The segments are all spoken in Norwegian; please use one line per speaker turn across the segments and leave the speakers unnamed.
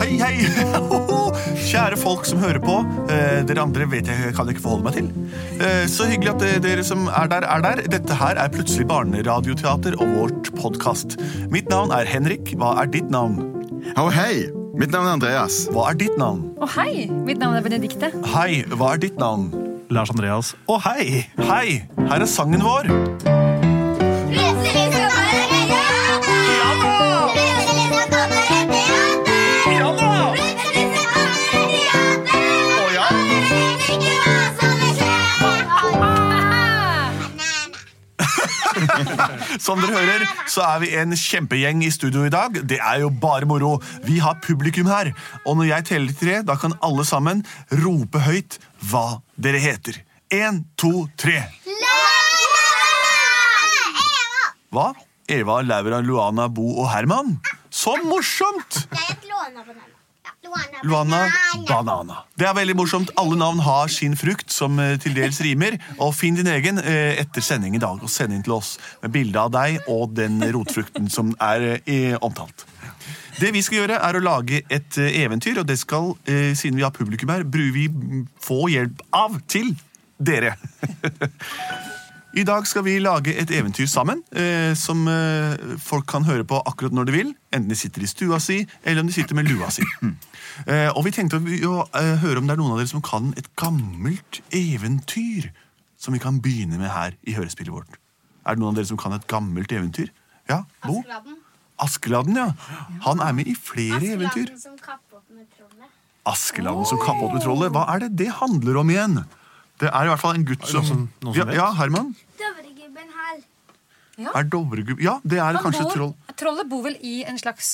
Hei, hei! Hoho! Kjære folk som hører på. Eh, dere andre vet jeg kan ikke forholde meg til. Eh, så hyggelig at eh, dere som er der, er der. Dette her er plutselig barneradioteater og vårt podkast. Mitt navn er Henrik. Hva er ditt navn?
Å, hei! Mitt navn er Andreas.
Hva er ditt navn?
Og hei, mitt navn er Benedikte.
Hei, hva er ditt navn?
Lars Andreas.
Å, hei! Hei! Her er sangen vår.
Plutselig så kommer det teater! Plutselig så kommer det teater! Plutselig så kommer det teater! Og dere vet ikke hva som vil
Ah!
skje.
Som dere hører, så er vi en kjempegjeng i studio i dag. Det er jo bare moro. Vi har publikum her. Og når jeg teller til tre, da kan alle sammen rope høyt hva dere heter. Én, to, tre.
Lønne! Eva!
Hva? Eva, Laura, Luana, Bo og Herman? Så morsomt!
Jeg het Luana Banana. Luana,
Luana Banana. Det er veldig morsomt. Alle navn har sin frukt, som eh, til dels rimer. Og finn din egen eh, etter sending i dag, og send inn til oss med bilde av deg og den rotfrukten som er eh, i- omtalt. Det vi skal gjøre, er å lage et eh, eventyr, og det skal, eh, siden vi har publikum her, bru vi mm, få hjelp av til dere. I dag skal vi lage et eventyr sammen, eh, som eh, folk kan høre på akkurat når de vil. Enten de sitter i stua si, eller om de sitter med lua si. Eh, og vi tenkte å, å eh, høre om det er noen av dere som kan et gammelt eventyr. Som vi kan begynne med her i hørespillet vårt. Er det noen av dere som kan et gammelt eventyr? Ja, Bo?
Askeladden.
Askeladden, ja. Han er med i flere eventyr.
som kapper opp med trollet.
Askeladden som kappet med trollet. Hva er det det handler om igjen? Det er i hvert fall en gutt som,
noen som- noen som
ja,
vet?
ja, Herman?
Dovregubben her.
Er Dovregubb Ja, det er
Han
kanskje et
bor-
troll.
Trollet bor vel i en slags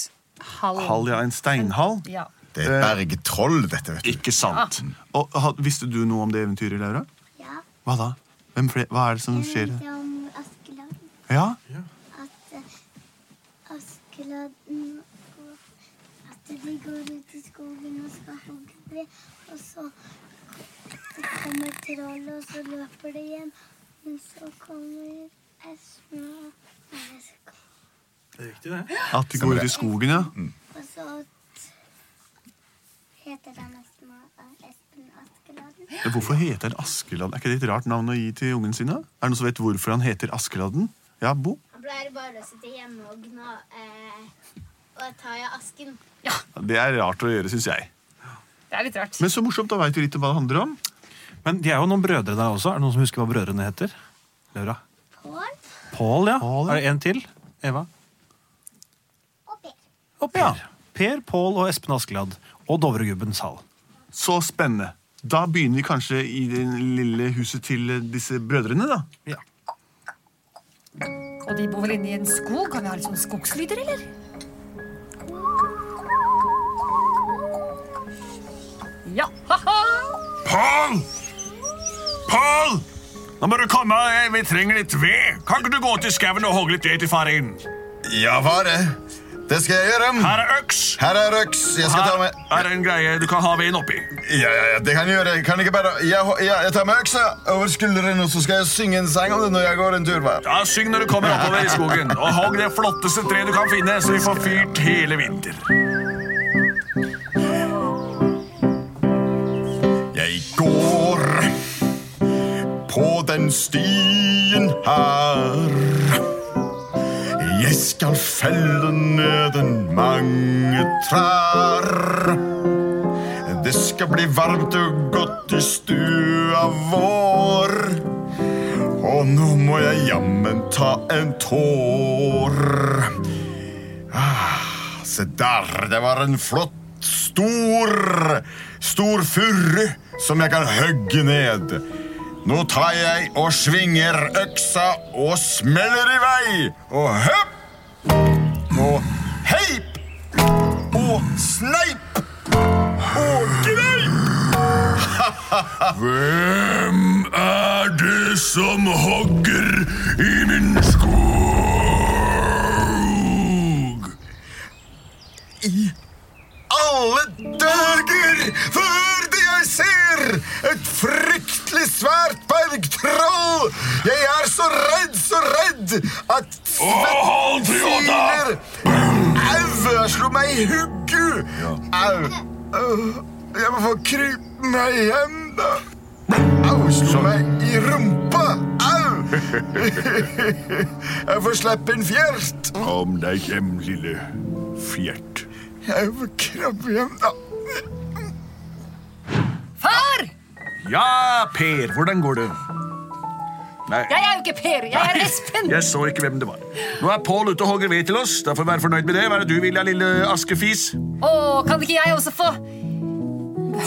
hall.
Hall, ja. En steinhall.
Ja.
Det er bergtroll, dette, vet du.
Ikke sant. Og ha, Visste du noe om det eventyret, Laura?
Ja.
Hva da? Hvem fle hva er det som skjer?
vet om Askeladden.
Ja?
At eh, Askeladden går- At de går ut i skogen og skal hogge ved, og så så kommer trollet, og så løper det igjen. Men så kommer Espen og Nei, jeg skal ikke-
At de går ut i skogen, ja.
Mm.
Og så t- heter han Espen og Espen Askeladden.
Men Hvorfor heter han Askeladden? Er ikke det et rart navn å gi til ungen sine? Er det noen som vet hvorfor han heter Askeladden? Ja, Bo?
Han pleier bare å sitte hjemme og gna eh, og ta i asken.
Det er rart å gjøre, syns jeg.
Det er litt rart.
Men så morsomt, da veit du litt om hva det handler om.
Men de er jo noen brødre der også. Er det noen som husker hva brødrene heter? Laura?
Pål
Pål, ja.
Paul, ja.
Er det en til? Eva?
og Per.
Og Per. Per, Pål og Espen Askeladd. Og Dovregubbens hall.
Så spennende. Da begynner vi kanskje i det lille huset til eh, disse brødrene, da.
Ja.
Og de bor vel inne i en skog? Kan vi ha litt sånn skogslyder, eller? Ja, ha-ha!
Pål! Pål! Nå må du komme. eh, Vi trenger litt ved. Kan ikke du gå til skauen og hogge litt ved til far din?
Ja, hva er det? Det skal jeg gjøre.
Her er øks.
Her er røks. Jeg skal ta
Her
med
er en greie du kan ha veden oppi.
Ja, ja, ja, det kan jeg gjøre. Kan jeg ikke bare Jeg, ja, jeg tar med øksa over skulderen, og så skal jeg synge en sang om det når jeg går en tur hver.
Ja, Syng når du kommer oppover i skogen, og hogg det flotteste treet du kan finne, så vi får fyrt hele vinter.
Jeg går på den stien her. Jeg skal felle ned en mange trær. Det skal bli varmt og godt i stua vår. Og nå må jeg jammen ta en tår. Se der, det var en flott, stor, stor furre som jeg kan høgge ned. Nå tar jeg og svinger øksa og smeller i vei. Og høpp og heip og sneip og greip.
Hvem er det som hogger i min skog?
I alle dager før det jeg ser et fryktelig svært bergtroll. Jeg er så redd, så redd at
Å, hold, Triota!
Siler! Au! Jeg slo meg i hugg! Gud! Au! Au. Jeg må få krypt meg hjem, da. Au, slo meg i rumpa. Au! Jeg får slippe en fjert.
Kom deg hjem, lille fjert.
Jeg må krabbe hjem, da.
Far!
Ja, Per, hvordan går det? Nei,
Jeg er jo ikke Per, jeg er Espen.
jeg så ikke hvem det var. Nå er Pål ute og hogger ved til oss. Da får vi være fornøyd med det. Hva er det du vil, da, lille askefis?
Å, kan ikke jeg også få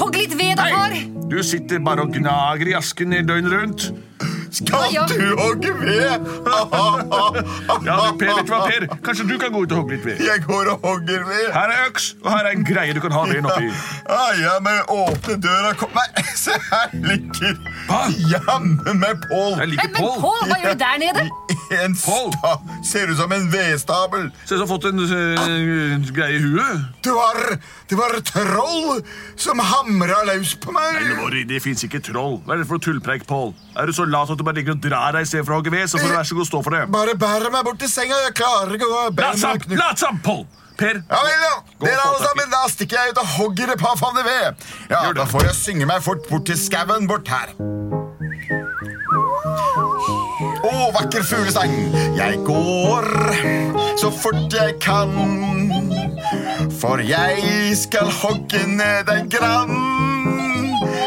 Hogg litt ved, da, far.
Du sitter bare og gnager i asken i døgnet rundt.
Å, ja.
Skal du hogge ved?
Ja, men Per, vet du hva, Per? Kanskje du kan gå ut og hogge litt ved?
Jeg går og hogger ved.
Her er øks, og her er en greie du kan ha veden oppi.
Ja, ja, men åpne døra kom. Nei, se her ligger
Hva?
jammen meg
Jeg
Pål.
Men,
liker
men
Pål.
Pål, hva gjør du der nede?
En
Pål?
sta ser ut som en vedstabel.
Se, så har fått en eh, greie i huet.
Det var, det var troll som hamra løs på meg.
Lori, det fins ikke troll. Hva er det for noe tullpreik, Pål? Er du så lat at du bare ligger og drar deg i stedet for å hogge ved, så får du vær så god stå for det.
Bare bærer meg bort til senga. Jeg klarer ikke å bære
Lat
meg
som,
knu-
lat som, Pål! Per,
Ja vel, ja.
Gå
Dere
og
alle
få tak i-
sammen, da stikker jeg ut og hogger et par favner ved. Ja,
Gjør det.
Da får jeg synge meg fort bort til skauen bort her. Å, vakker fuglesang. Jeg går så fort jeg kan. For jeg skal hogge ned en gran.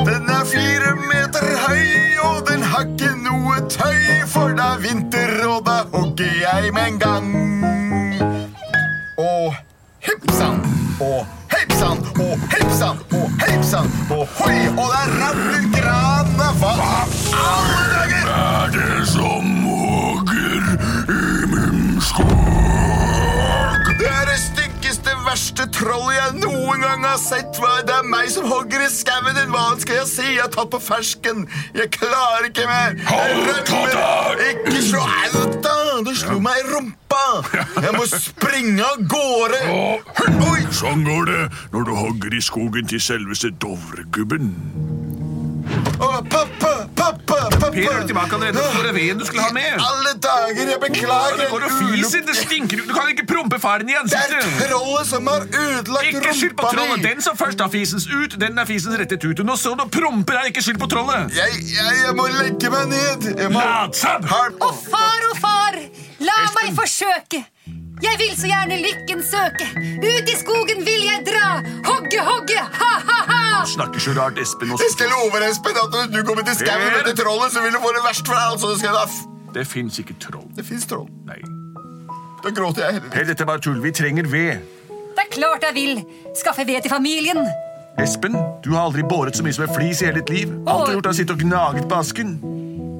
Den er fire meter høy, og den har ikke noe tøy. For det er vinter, og da hogger jeg med en gang og hipsan og heipsan og hipsan og heipsan og hoi, og der rant ut granene. Hva alle dager?
Er det som hogger i min skog?
Det er det styggeste, verste trollet jeg noen gang har sett. Hva? Det er meg som hogger i skauen din. Hva skal jeg si? Jeg har tatt på fersken. Jeg klarer ikke mer. Jeg rømmer. Ikke slå alt, da. Du slo meg i rumpa. Jeg må springe av gårde. Oi!
Sånn går det når du hogger i skogen til selveste Dovregubben.
Å, pappa, pappa, pappa.
Per er du tilbake allerede på den veden du skulle ha med.
Alle dager, jeg beklager.
Det går og fiser, det stinker ut. Du kan ikke prompe faren i
Det er
ansiktet.
trollet som har ødelagt
Ikke skyld på
rumpa
trollet.
mi.
Den som først har fisens ut, den er fisens rettet ut. Nå så du og promper her, ikke skyld på trollet.
Jeg, jeg, jeg må legge meg ned. Jeg må...
Latsabb!
Har-
Å, far, å, far, la meg forsøke. Jeg vil så gjerne lykken søke. Ut i skogen vil jeg dra. Hogge, hogge, ha-ha-ha.
Snakker så rart, Espen.
Jeg
Også.
skal love deg, Espen, at når du kommer til skauen
Per.
med det trollet, så vil du få det verst for deg. Altså, det skal jeg da... f-
Det fins ikke troll.
Det fins troll.
Nei.
Da gråter jeg heller.
Per, dette er bare tull. Vi trenger ved.
Det er klart jeg vil. Skaffe ved til familien.
Espen, du har aldri båret så mye som en flis i hele ditt liv. Alt du har gjort, er å sitte og gnaget på asken.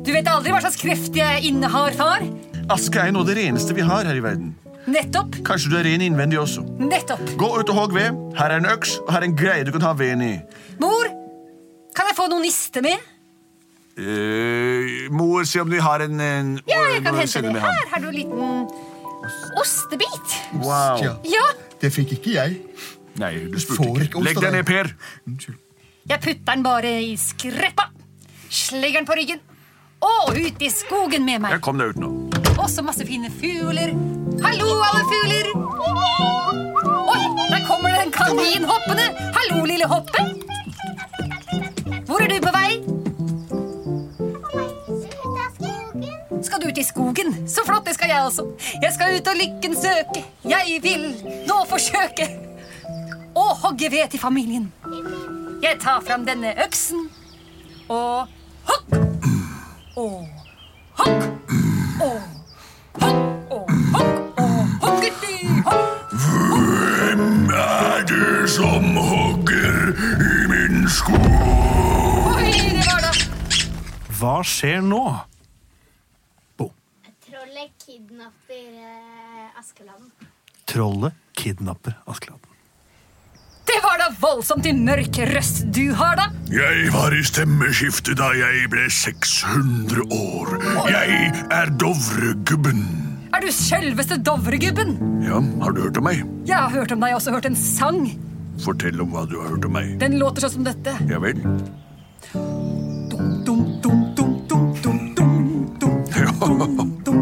Du vet aldri hva slags krefter jeg innehar, far.
Aske er jo noe av det reneste vi har her i verden.
Nettopp,
Kanskje du er ren innvendig også.
nettopp.
Gå ut og hogg ved. Her er en øks, og her er en greie du kan ha veden i.
Mor, kan jeg få noe niste med?
Eh, mor, se om du har en, en
Ja, jeg kan
hvor-
hente
sender
det.
vi han.
Her har du en liten ostebit.
Wow.
Ja,
Ja,
det fikk ikke jeg.
Nei, du
Får
spurte
ikke
ikke.
ost
Legg
av deg.
deg ned, Per.
Unnskyld.
jeg putter den bare i skreppa. Slegger den på ryggen. Og ut i skogen med meg.
Jeg kom deg ut nå.
Og så masse fine fugler. Hallo, alle fugler! Oi, der kommer det en kanin hoppende! Hallo, lille hoppe! Hvor er du på vei?
Ut av skogen.
Skal du ut i skogen? Så flott, det skal jeg også. Jeg skal ut og lykken søke. Jeg vil nå forsøke å hogge ved til familien. Jeg tar fram denne øksen og hogg og hogg og hogg og hogg og hoggeti hogg.
Er det som hogger i min skog?
Oi, det var da
Hva skjer nå?
Trollet kidnapper eh, Askeladden.
Trollet kidnapper Askeladden.
Det var da voldsomt i mørk røst du har, da.
Jeg var i stemmeskiftet da jeg ble 600 år. Jeg er Dovregubben.
Er du selveste Dovregubben?
Ja, har du hørt om meg?
Jeg har hørt om deg, jeg har også hørt en sang.
Fortell om hva du har hørt om meg.
Den låter sånn som dette.
Ja vel?
Dum, dum, dum, dum, dum, dum, dum, dum, dum, dum, dum, dum,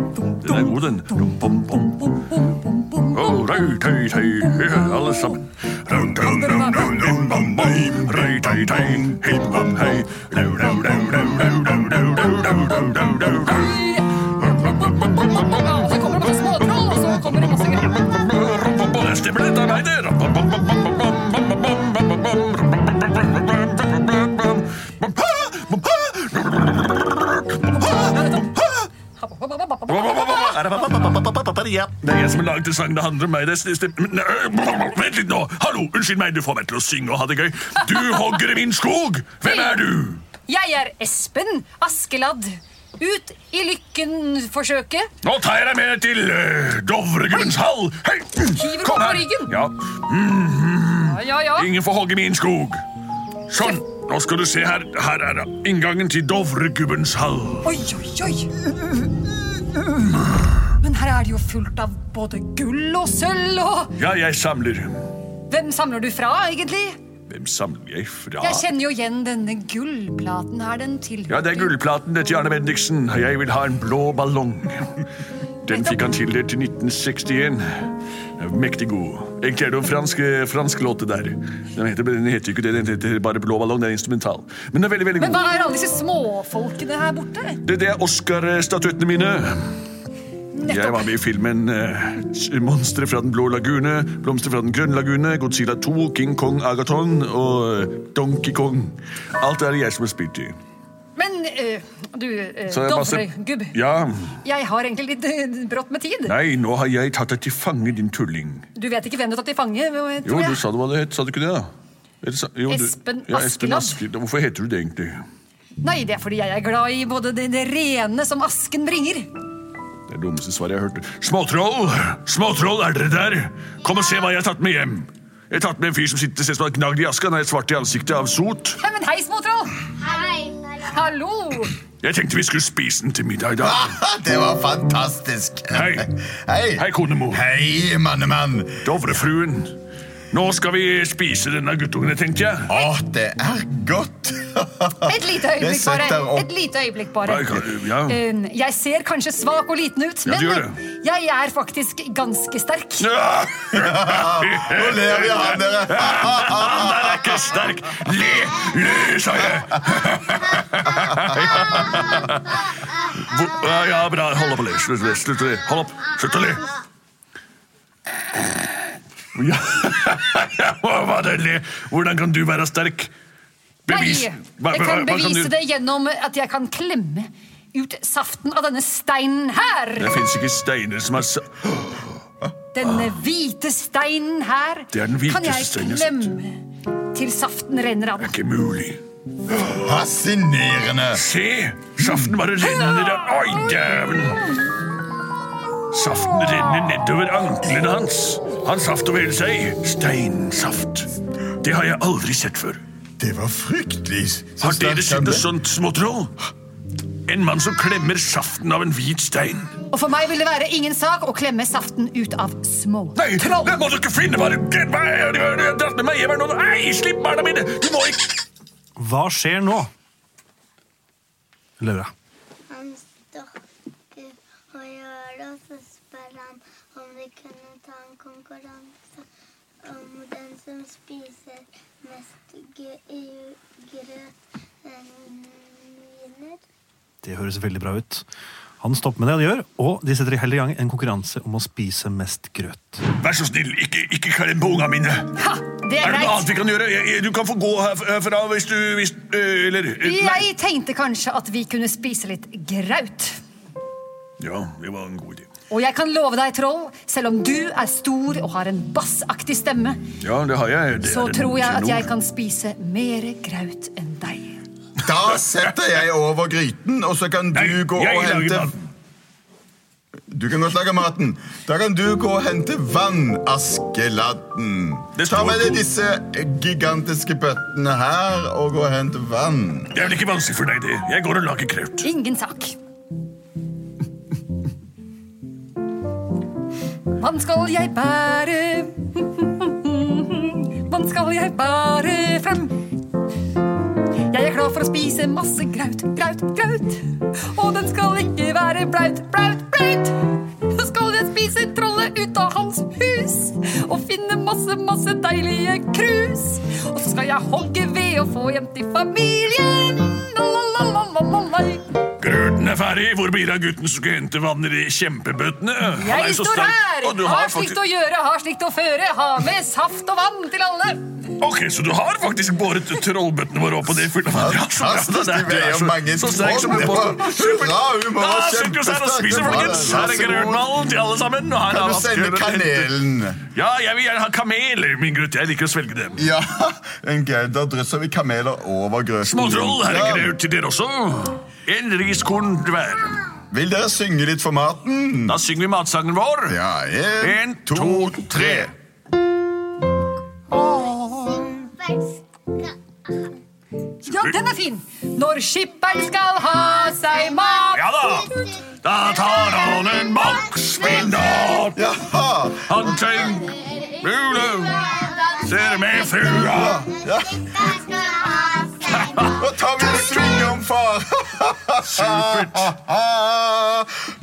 Den er god, den.
dum, dum, dum, dum, dum, dum, dum.
Å, ho, røy, tøy, tøy, hø, alle sammen. Raun, raun, raun, raun, im, bam, boi, røy, tøy, tøy, him, bam, hei. Rau, rau, rau, rau, rau, rau, rau, rau, rau, rau, rau, rau, rau.
Og så kommer det masse småtroll, og så kommer det masse greier.
Det stemmer, dette er meg, det. Ram, bam, bam, bam, bam, bam, bam, bam, bam, bam, bam, bam, ram, bam, bam, bam, bam, bam, bam, bam, bam, bam, ha, bam, ha,
Hva
Det er jeg som har laget den sangen. Det handler om meg. Det er stem- Men, øh, Vent litt nå! Hallo, Unnskyld meg, du får meg til å synge og ha det gøy. Du hogger i min skog! Hvem er du?
Jeg er Espen Askeladd. Ut i lykken-forsøket.
Nå tar jeg deg med til øh, Dovregubbens hall. Hei!
Hiver
Kom
meg
her!
på ryggen.
Ja,
Ja, ja, ja.
ingen får hogge min skog. Sånn. Nå skal du se her. Her er inngangen til Dovregubbens hall.
Oi, oi, oi. Men her er det jo fullt av både gull og sølv og
Ja, jeg samler.
Hvem samler du fra, egentlig?
Hvem samler jeg fra?
Jeg kjenner jo igjen denne gullplaten her. Den tilhører
Ja, det er gullplaten til Arne Bendiksen. Jeg vil ha en blå ballong. Den fikk han tildelt i 1961. Mektig god. Egentlig er det jo en fransk, fransk låt det der. Den heter, den heter jo ikke det, den heter bare Blå ballong. Den er instrumental. Men den er veldig, veldig
Men
god.
hva er alle disse småfolkene her borte?
Det, det er Oscar-statuettene mine. Jeg var med i filmen uh, Monstre fra den blå lagune, Blomster fra den grønne lagune, Godzilla 2, King Kong Agaton og eh, Donkey Kong. Alt er det jeg som har spilt i.
Men eh, du, uh,
Så jeg bare ser-
Dovregubb,
Ja,
jeg har egentlig litt eh, brått med tid.
Nei, nå har jeg tatt deg til fange, din tulling.
Du vet ikke hvem du har tatt til fange? eh, tror
Jo,
jeg.
du sa det hva det het, sa du ikke det? da? Eller sa- jo, du-
Espen
ja, Espen
Askeladd.
Askeladd. Hvorfor heter du det egentlig?
Nei, det er fordi jeg er glad i både det, det rene som asken bringer.
Det er det dummeste svaret jeg har hørt. Småtroll! Småtroll, er dere der? Kom og se hva jeg har tatt med hjem. Jeg har tatt med en fyr som sitter ser ut som han er gnagd i aska. Han er svart i ansiktet av sot.
Nei, men hei, småtroll!
Hei!
Hallo!
Jeg tenkte vi skulle spise den til middag i dag.
Det var fantastisk.
Hei.
Hei.
Hei, konemor.
Hei, mannemann.
Dovrefruen. Nå skal vi spise denne guttungen, tenkte jeg.
Å, det er godt.
Et lite
Jeg
øyeblikk bare.
setter opp-
Et lite øyeblikk bare.
Nei, kan- ja.
Eh, Jeg ser kanskje svak og liten ut,
Ja,
men eh,
du gjør
jeg er faktisk ganske sterk.
Ah,
Nå ler vi av dere.
Han der er ikke sterk! Le, le, sa jeg! Hvor- Ja, ja, bra. Hold opp å le. Slutt å le. Slutt å le. Hold opp. Slutt å le. Ja, hva var det le? Hvordan kan du være sterk? Bevis.
Nei, jeg kan bevise det gjennom at jeg kan klemme ut saften av denne steinen her.
Det fins ikke steiner som er sa...
Denne hvite steinen her
Det er den
kan
hviteste
jeg
steinen jeg har sett.
klemme til saften renner av.
Det er ikke mulig.
Fascinerende.
Se! Saften bare renner ned av Oi, dæven! Saften renner nedover anklene hans. Han saft over hele seg. Steinsaft. Det har jeg aldri sett før.
Det var fryktelig. Så
Har dere
sterkt
sett noe
kjempe.
sånt, småtroll? En mann som klemmer saften av en hvit stein.
Og for meg vil det være ingen sak å klemme saften ut av små
Nei,
troll.
det må du ikke finne! Bare Gud, hva er det? Du har dratt med meg hjem her nå! Nei, slipp barna mine! Du må ikke
Hva skjer nå? Laura.
Han stokker og gjør det, og så spør han om vi kunne ta en konkurranse om den som spiser mest gø- gr- grøt, eh, vinner.
Det høres veldig bra ut. Han stopper med det han gjør, og de setter heller i gang en konkurranse om å spise mest grøt.
Vær så snill, ikke, ikke klem på unga mine.
Ha, det
Er
er
det noe annet
greit.
vi kan gjøre? Jeg- jeg- Du kan få gå her- herfra hvis du hvis, eh, Eller eh, nei.
Jeg tenkte kanskje at vi kunne spise litt graut.
Ja, det var en god idé.
Og jeg kan love deg, troll, selv om du er stor og har en bassaktig stemme,
Ja, det har jeg. Det
så
er en
tror jeg at
klenod.
jeg kan spise mer graut enn deg.
Da setter jeg over gryten, og så kan du
Nei,
gå
jeg
og
lager
hente
maten.
Du kan godt lage maten. Da kan du gå og hente vann, Askeladden.
Det
Ta
står
med
to-
deg disse gigantiske bøttene her og gå og hente vann.
Det er vel ikke vanskelig for deg, det. Jeg går og lager kraut.
Ingen sak. Vann skal jeg bære Vann skal jeg bære frem Jeg er klar for å spise masse graut, graut, graut Og den skal ikke være blaut, blaut, blaut Så skal jeg spise trollet ut av hans hus masse, masse deilige krus. Og så skal jeg hogge ved og få hjem til familien. La-la-la-la-la-la.
Grøten er ferdig. Hvor blir det av gutten som skal hente vann i de kjempebøttene? Han er
Jeg
jo så
står
sterk.
her!
Og du
Har
faktisk-
slikt å gjøre, har slikt å føre. Har med saft og vann til alle.
Ok, Så du har faktisk båret trollbøttene våre opp på det fulle vannet? Ja, så bra.
Fantastisk, de
Det er- det er
veier
så-
mange
så sterk som
tonn.
en påske. Supert.
Ja, hun må
Da
være
sitter vi oss her og
kjempesterk.
spiser,
Hun var det.
folkens. Her er
Vær så god.
grøtmalen til alle sammen. Og her er
Kan du sende
vaskeren.
kanelen?
Ja, jeg vil gjerne ha kameler, min gutt. Jeg liker å svelge dem.
Ja, en gauda drysser vi kameler over grøten.
Småtroll, her er
Ja.
grøt til dere også. En riskorn hver.
Vil dere synge litt for maten?
Da synger vi matsangen vår.
Ja, en,
En,
to,
to,
tre.
tre.
Supert.
Ja, den er fin. Når skipperen skal ha seg mat.
Ja da! Da tar han en maksspinat.
Jaha,
Han tenker Mule. Ser med frua.
nå tar vi en sving om far.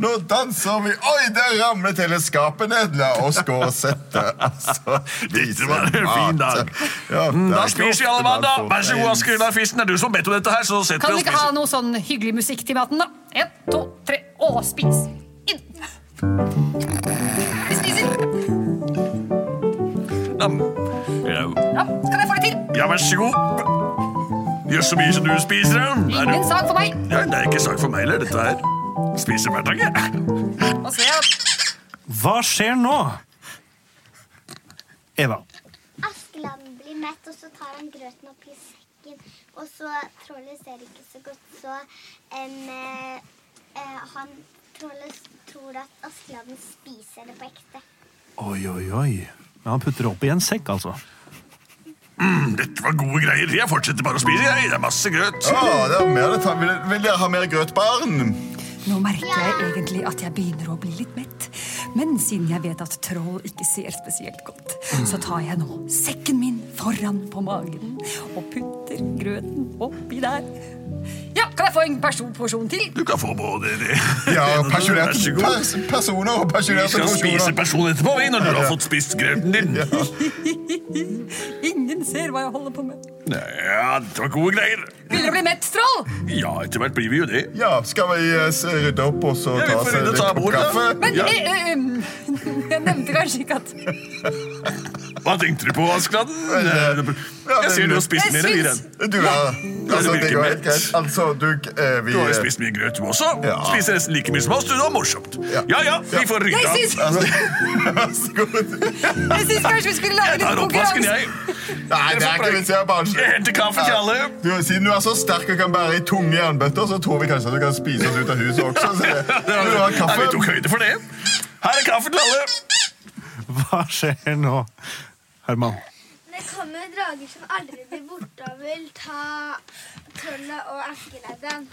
Nå danser vi. Oi, der ramlet hele skapet ned. La oss gå og Altså, sette oss og spise
Dette var en
mat.
fin dag. Mm,
Ja, det
Da
er ikke
spiser vi alle
ofte man
mann, da.
får
Vær så god,
en-
Asker. Det er fisten. Det er du som bedt om dette her, så setter
Kan vi
vi og
ikke ha
spiser.
noe sånn hyggelig musikk til maten, da? En, to, tre, og spis. Inn. Vi spiser.
Nam. Ja.
Ja, skal jeg få det til?
Ja, vær så god. Gjør så mye som du spiser, ja. Er
Ingen
det-
sak for meg.
Ja, det er ikke sak for meg heller, dette her. Spiser hver dag, jeg.
Og så er jeg
Hva skjer nå? Eva.
Askeladden blir mett, og så tar han grøten opp i sekken. Og så trollet ser ikke så godt, så em, eh, eh, han trollet tror at Askeladden spiser det på ekte.
Oi, oi, oi. Men han putter det opp i en sekk, altså.
Mm, Dette var gode greier. Jeg fortsetter bare å spise, jeg. Det er masse grøt.
Å, det er mer det tar. Vil, vil dere ha mer grøt, barn?
Nå merker jeg egentlig at jeg begynner å bli litt mett. Men siden jeg vet at troll ikke ser spesielt godt, så tar jeg nå sekken min foran på magen og putter grøten oppi der. Ja, kan jeg få en person porsjon til?
Du kan få både det.
Ja,
det ene og det andre. Vær
pensjonerte
så god.
pers personer og
Vi
pensjonerte
skal spise
personer.
personen etterpå, vi, når du har fått spist grøten din.
Ingen ser hva jeg holder på med.
Ja, det var gode greier.
Begynner å bli mett, troll!
Ja, etter hvert blir vi jo det.
Ja, skal vi eh, s- rydde opp og så
Ja, vi
ta
får
oss
rydde og
litt
ta
kopp
bordet, da.
kaffe?
Men
Ja.
eh, eh, um, jeg nevnte kanskje ikke at
Hva tenkte du på, Askeladden? Eh,
ja,
Jeg ser du har spist
Jeg
mer enn vi,
syns-
Ren.
Du er Altså, det
virker
går
mett.
helt greit. Altså, du eh, Vi
Du har jo
eh,
spist mye grøt, du også.
Ja.
Spiser nesten like mye som oss. Du, det var morsomt.
Ja.
Ja ja, vi
Ja.
får rydda.
Jeg syns
altså, Vær så god.
jeg syns kanskje vi skulle lage
Jeg
litt
tar oppvasken,
konkurranse.
jeg.
Nei, det er ikke vits i å
Jeg
barnslig.
henter kaffe til alle.
Du, siden du er så sterk og kan bære i tunge jernbøtter, så tror vi kanskje at du kan spise oss ut av huset også. Så det, du har
Nei, vi tok
kaffe.
høyde for det. Her er kaffe til alle.
Hva skjer nå, Herman?
Det kommer drager som aldri blir borte og vil ta trollet og askeladden.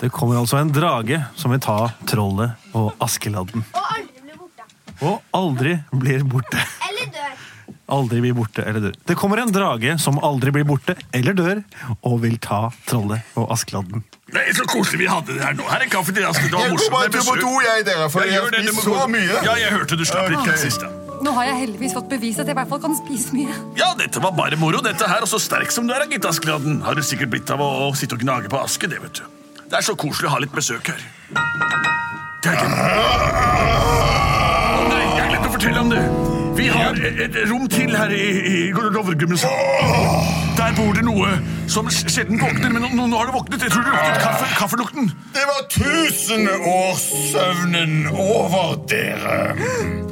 Det kommer altså en drage som vil ta trollet og Askeladden.
Og aldri blir borte.
Og aldri blir borte.
Eller dør.
Aldri blir borte eller dør. Det kommer en drage som aldri blir borte eller dør, og vil ta trollet og Askeladden.
Nei, Så koselig vi hadde det her nå. Her er kaffe til dere. Det var
Jeg går bare
morsomt.
tur på do, jeg, dere, for
Jeg
jeg
gjør det,
har
det må
spist
gå.
så mye.
Ja, jeg hørte du slapp litt
Ok.
okay. sist. da.
Nå har jeg heldigvis fått bevis at jeg i hvert fall kan spise mye.
Ja, dette var bare moro, dette her. Og så sterk som du er, gitt Askeladden. Har du sikkert blitt av å, å sitte og gnage på aske, det, vet du. Det er så koselig å ha litt besøk her. Det er ikke... Å nei, jeg glemte å fortelle om det. Vi har et, et rom til her i, i Lovregummens Der bor det noe som sjelden våkner, men nå, nå har det våknet. Jeg tror det luktet kaffe, kaffelukten.
Det var tusenårssøvnen over dere.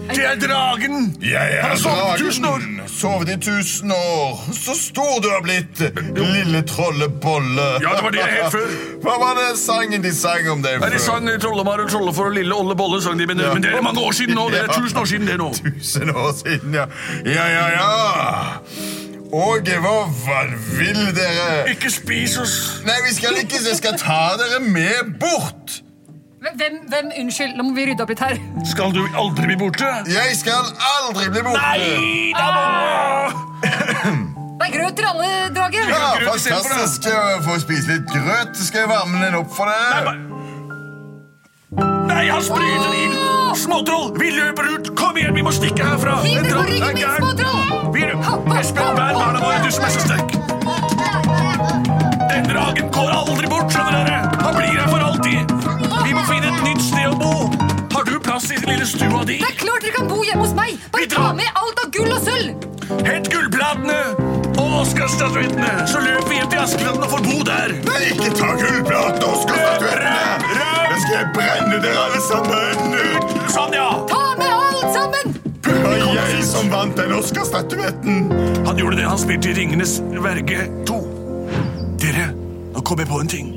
Det er dragen!
Jeg
Han
er
har sovet i tusen år.
dragen. Sovet i tusen år. Så stor du har blitt, lille trollebolle.
Ja, det var det jeg het før.
Hva var det sangen de sang om deg
Ja, de sang Trollemar og Trollefor og Lille Olle Bolle, sang de, men, men det er mange år siden nå. Det er
Ja.
tusen år siden det nå.
Tusen år siden, ja. Ja, ja, ja. Åge, hva, hva vil dere?
Ikke spis oss.
Nei, vi skal ikke, så jeg skal ta dere med bort.
Hvem, hvem, unnskyld, nå må vi rydde opp litt her.
Skal du aldri bli borte?
Jeg skal aldri bli borte.
Nei, da må
Det er grøt til alle, drage.
Ja,
Grøt istedenfor, da.
fantastisk å få spise litt grøt. Skal jeg varme den opp for deg?
Nei, han sprøyter ild! Småtroll, vi løper ut! Kom igjen, vi må stikke herfra!
Hiver
En
på
troll er
ryggen min,
gæren.
småtroll!
Blir du? Espen, vær barna våre, du som er så sterk. Denne dragen går aldri bort, skjønner dere. Han blir her for alltid. Vi må finne et nytt sted å bo. Har du plass i lille stua di?
Det er klart dere kan bo hjemme hos meg! Bare
Vi drar.
ta med alt av gull og sølv!
Hent gullplatene og Oscar-statuettene, så løper vi hjem til Askeladden og får bo der.
Nei, ikke ta gullplatene og
Røm,
skuffatuettene!
røm!
Da skal jeg brenne dere alle sammen ut!
Sånn, ja.
Ta med alt sammen!
Det var jeg som vant den Oscar-statuetten!
Han gjorde det han spilte i Ringenes verge 2. Dere, nå kom jeg på en ting.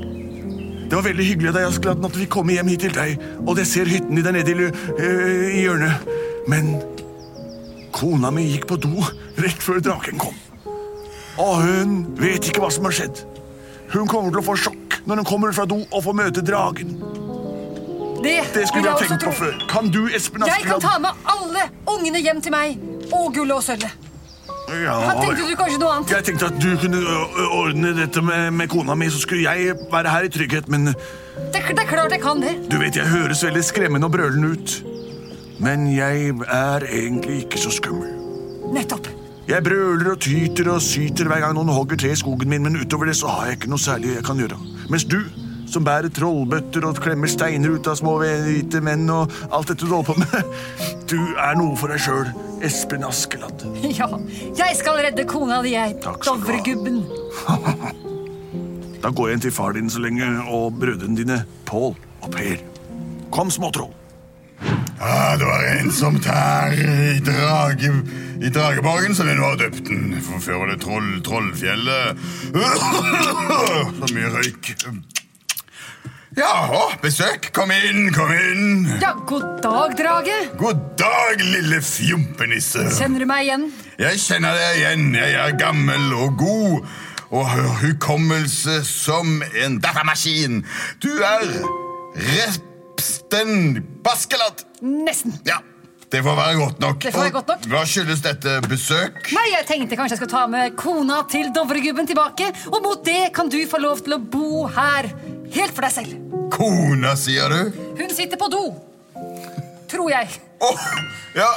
Det var veldig hyggelig av deg, Askeladden, at vi kom hjem hit til deg, og jeg ser hytten din der nede i, lu- øh, i hjørnet. Men kona mi gikk på do rett før draken kom. Og hun vet ikke hva som har skjedd. Hun kommer til å få sjokk når hun kommer fra do og får møte dragen.
Det,
Det
vil
skulle vi
jeg
ha
også
tenkt på
tro.
før. Kan du, Espen
Jeg kan
Askeladden?
ta med alle ungene hjem til meg. Og gullet og sølvet.
Ja,
Hva tenkte du kanskje noe annet?
Jeg tenkte at du kunne ø, ø, ordne dette med, med kona mi, så skulle jeg være her i trygghet, men
Det, det er klart jeg kan det.
du vet jeg høres veldig skremmende og brølende ut. Men jeg er egentlig ikke så skummel.
Nettopp.
Jeg brøler og tyter og syter hver gang noen hogger tre i skogen min, men utover det så har jeg ikke noe særlig jeg kan gjøre. Mens du, som bærer trollbøtter og klemmer steiner ut av små hvite menn og alt dette du holder på med, du er noe for deg sjøl, Espen Askeladd.
Ja, jeg skal redde kona di, jeg.
Takk skal du ha.
Dovregubben.
Da går jeg inn til far din så lenge, og brødrene dine, Pål og Per. Kom, småtroll.
Ah, det var en som tær i, drage, i Drageborgen, som vi nå har døpt den. For før var det troll, Trollfjellet. Så mye røyk. Ja, å, besøk. Kom inn, kom inn.
Ja, god dag, drage.
God dag, lille fjompenisse.
Kjenner du meg igjen?
Jeg kjenner deg igjen. Jeg er gammel og god og har hukommelse som en datamaskin. Du er Repsten Baskelat.
Nesten.
Ja, det får være godt nok.
Det får være godt nok.
Hva skyldes dette besøk?
Nei, jeg tenkte kanskje jeg skulle ta med kona til Dovregubben tilbake, og mot det kan du få lov til å bo her, helt for deg selv.
Kona, sier du?
Hun sitter på do. Tror jeg.
Åh, ja.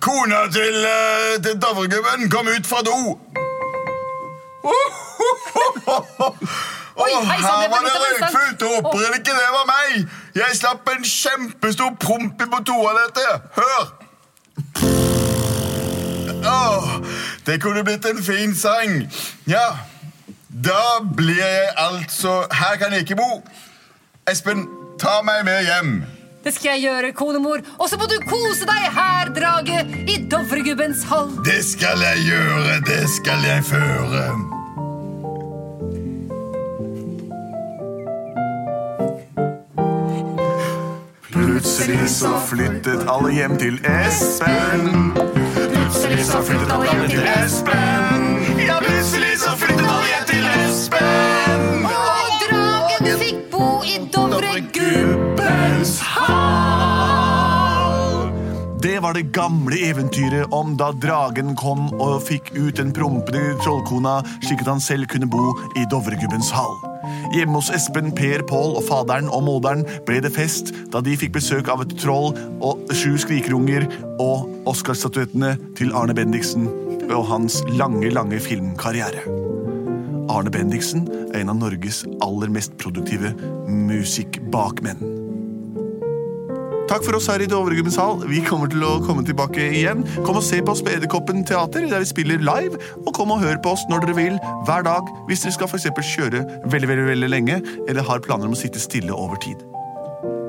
Kona til, uh, til Dovregubben kom ut fra do. Åh,
hei, sann,
her
det
var
var
det
litt av en stand.
røykfullt opprør, ikke det var meg. Jeg slapp en kjempestor promp på toalettet. Hør. Åh, det kunne blitt en fin sang. Ja, da blir jeg altså... Her kan jeg ikke bo. Espen, ta meg med hjem.
Det skal jeg gjøre, konemor. Og så må du kose deg her, drage, i Dovregubbens hall.
Det skal jeg gjøre, det skal jeg føre.
Plutselig så flyttet alle hjem til Espen.
Plutselig så flyttet alle hjem til
Espen. Ja, plutselig så flyttet alle hjem til Espen.
Og dragen fikk bo i Dovregubben.
Gubbens hall. Det var det gamle eventyret om da dragen kom og fikk ut den prompende trollkona, slik at han selv kunne bo i Dovregubbens hall. Hjemme hos Espen, Per, Pål og faderen og moderen ble det fest da de fikk besøk av et troll og sju skrikerunger og Oscarstatuettene til Arne Bendiksen og hans lange, lange filmkarriere. Arne Bendiksen er en av Norges aller mest produktive musikkbakmenn. Takk for oss her i Dovregubbens hall. Vi kommer til å komme tilbake igjen. Kom og se på oss på Edderkoppen teater, der vi spiller live. Og kom og hør på oss når dere vil, hver dag, hvis dere skal for eksempel kjøre veldig, veldig, veldig lenge, eller har planer om å sitte stille over tid.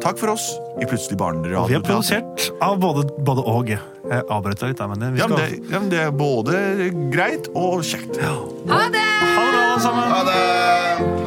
Takk for oss i Plutselig barneradio.
Og vi er produsert av både, både og. Jeg avbrøt deg litt der, men vi
Ja, men
skal
det, ja, men det er både greit og kjekt.
Ha det!
Ha det bra, alle sammen!
Ha det!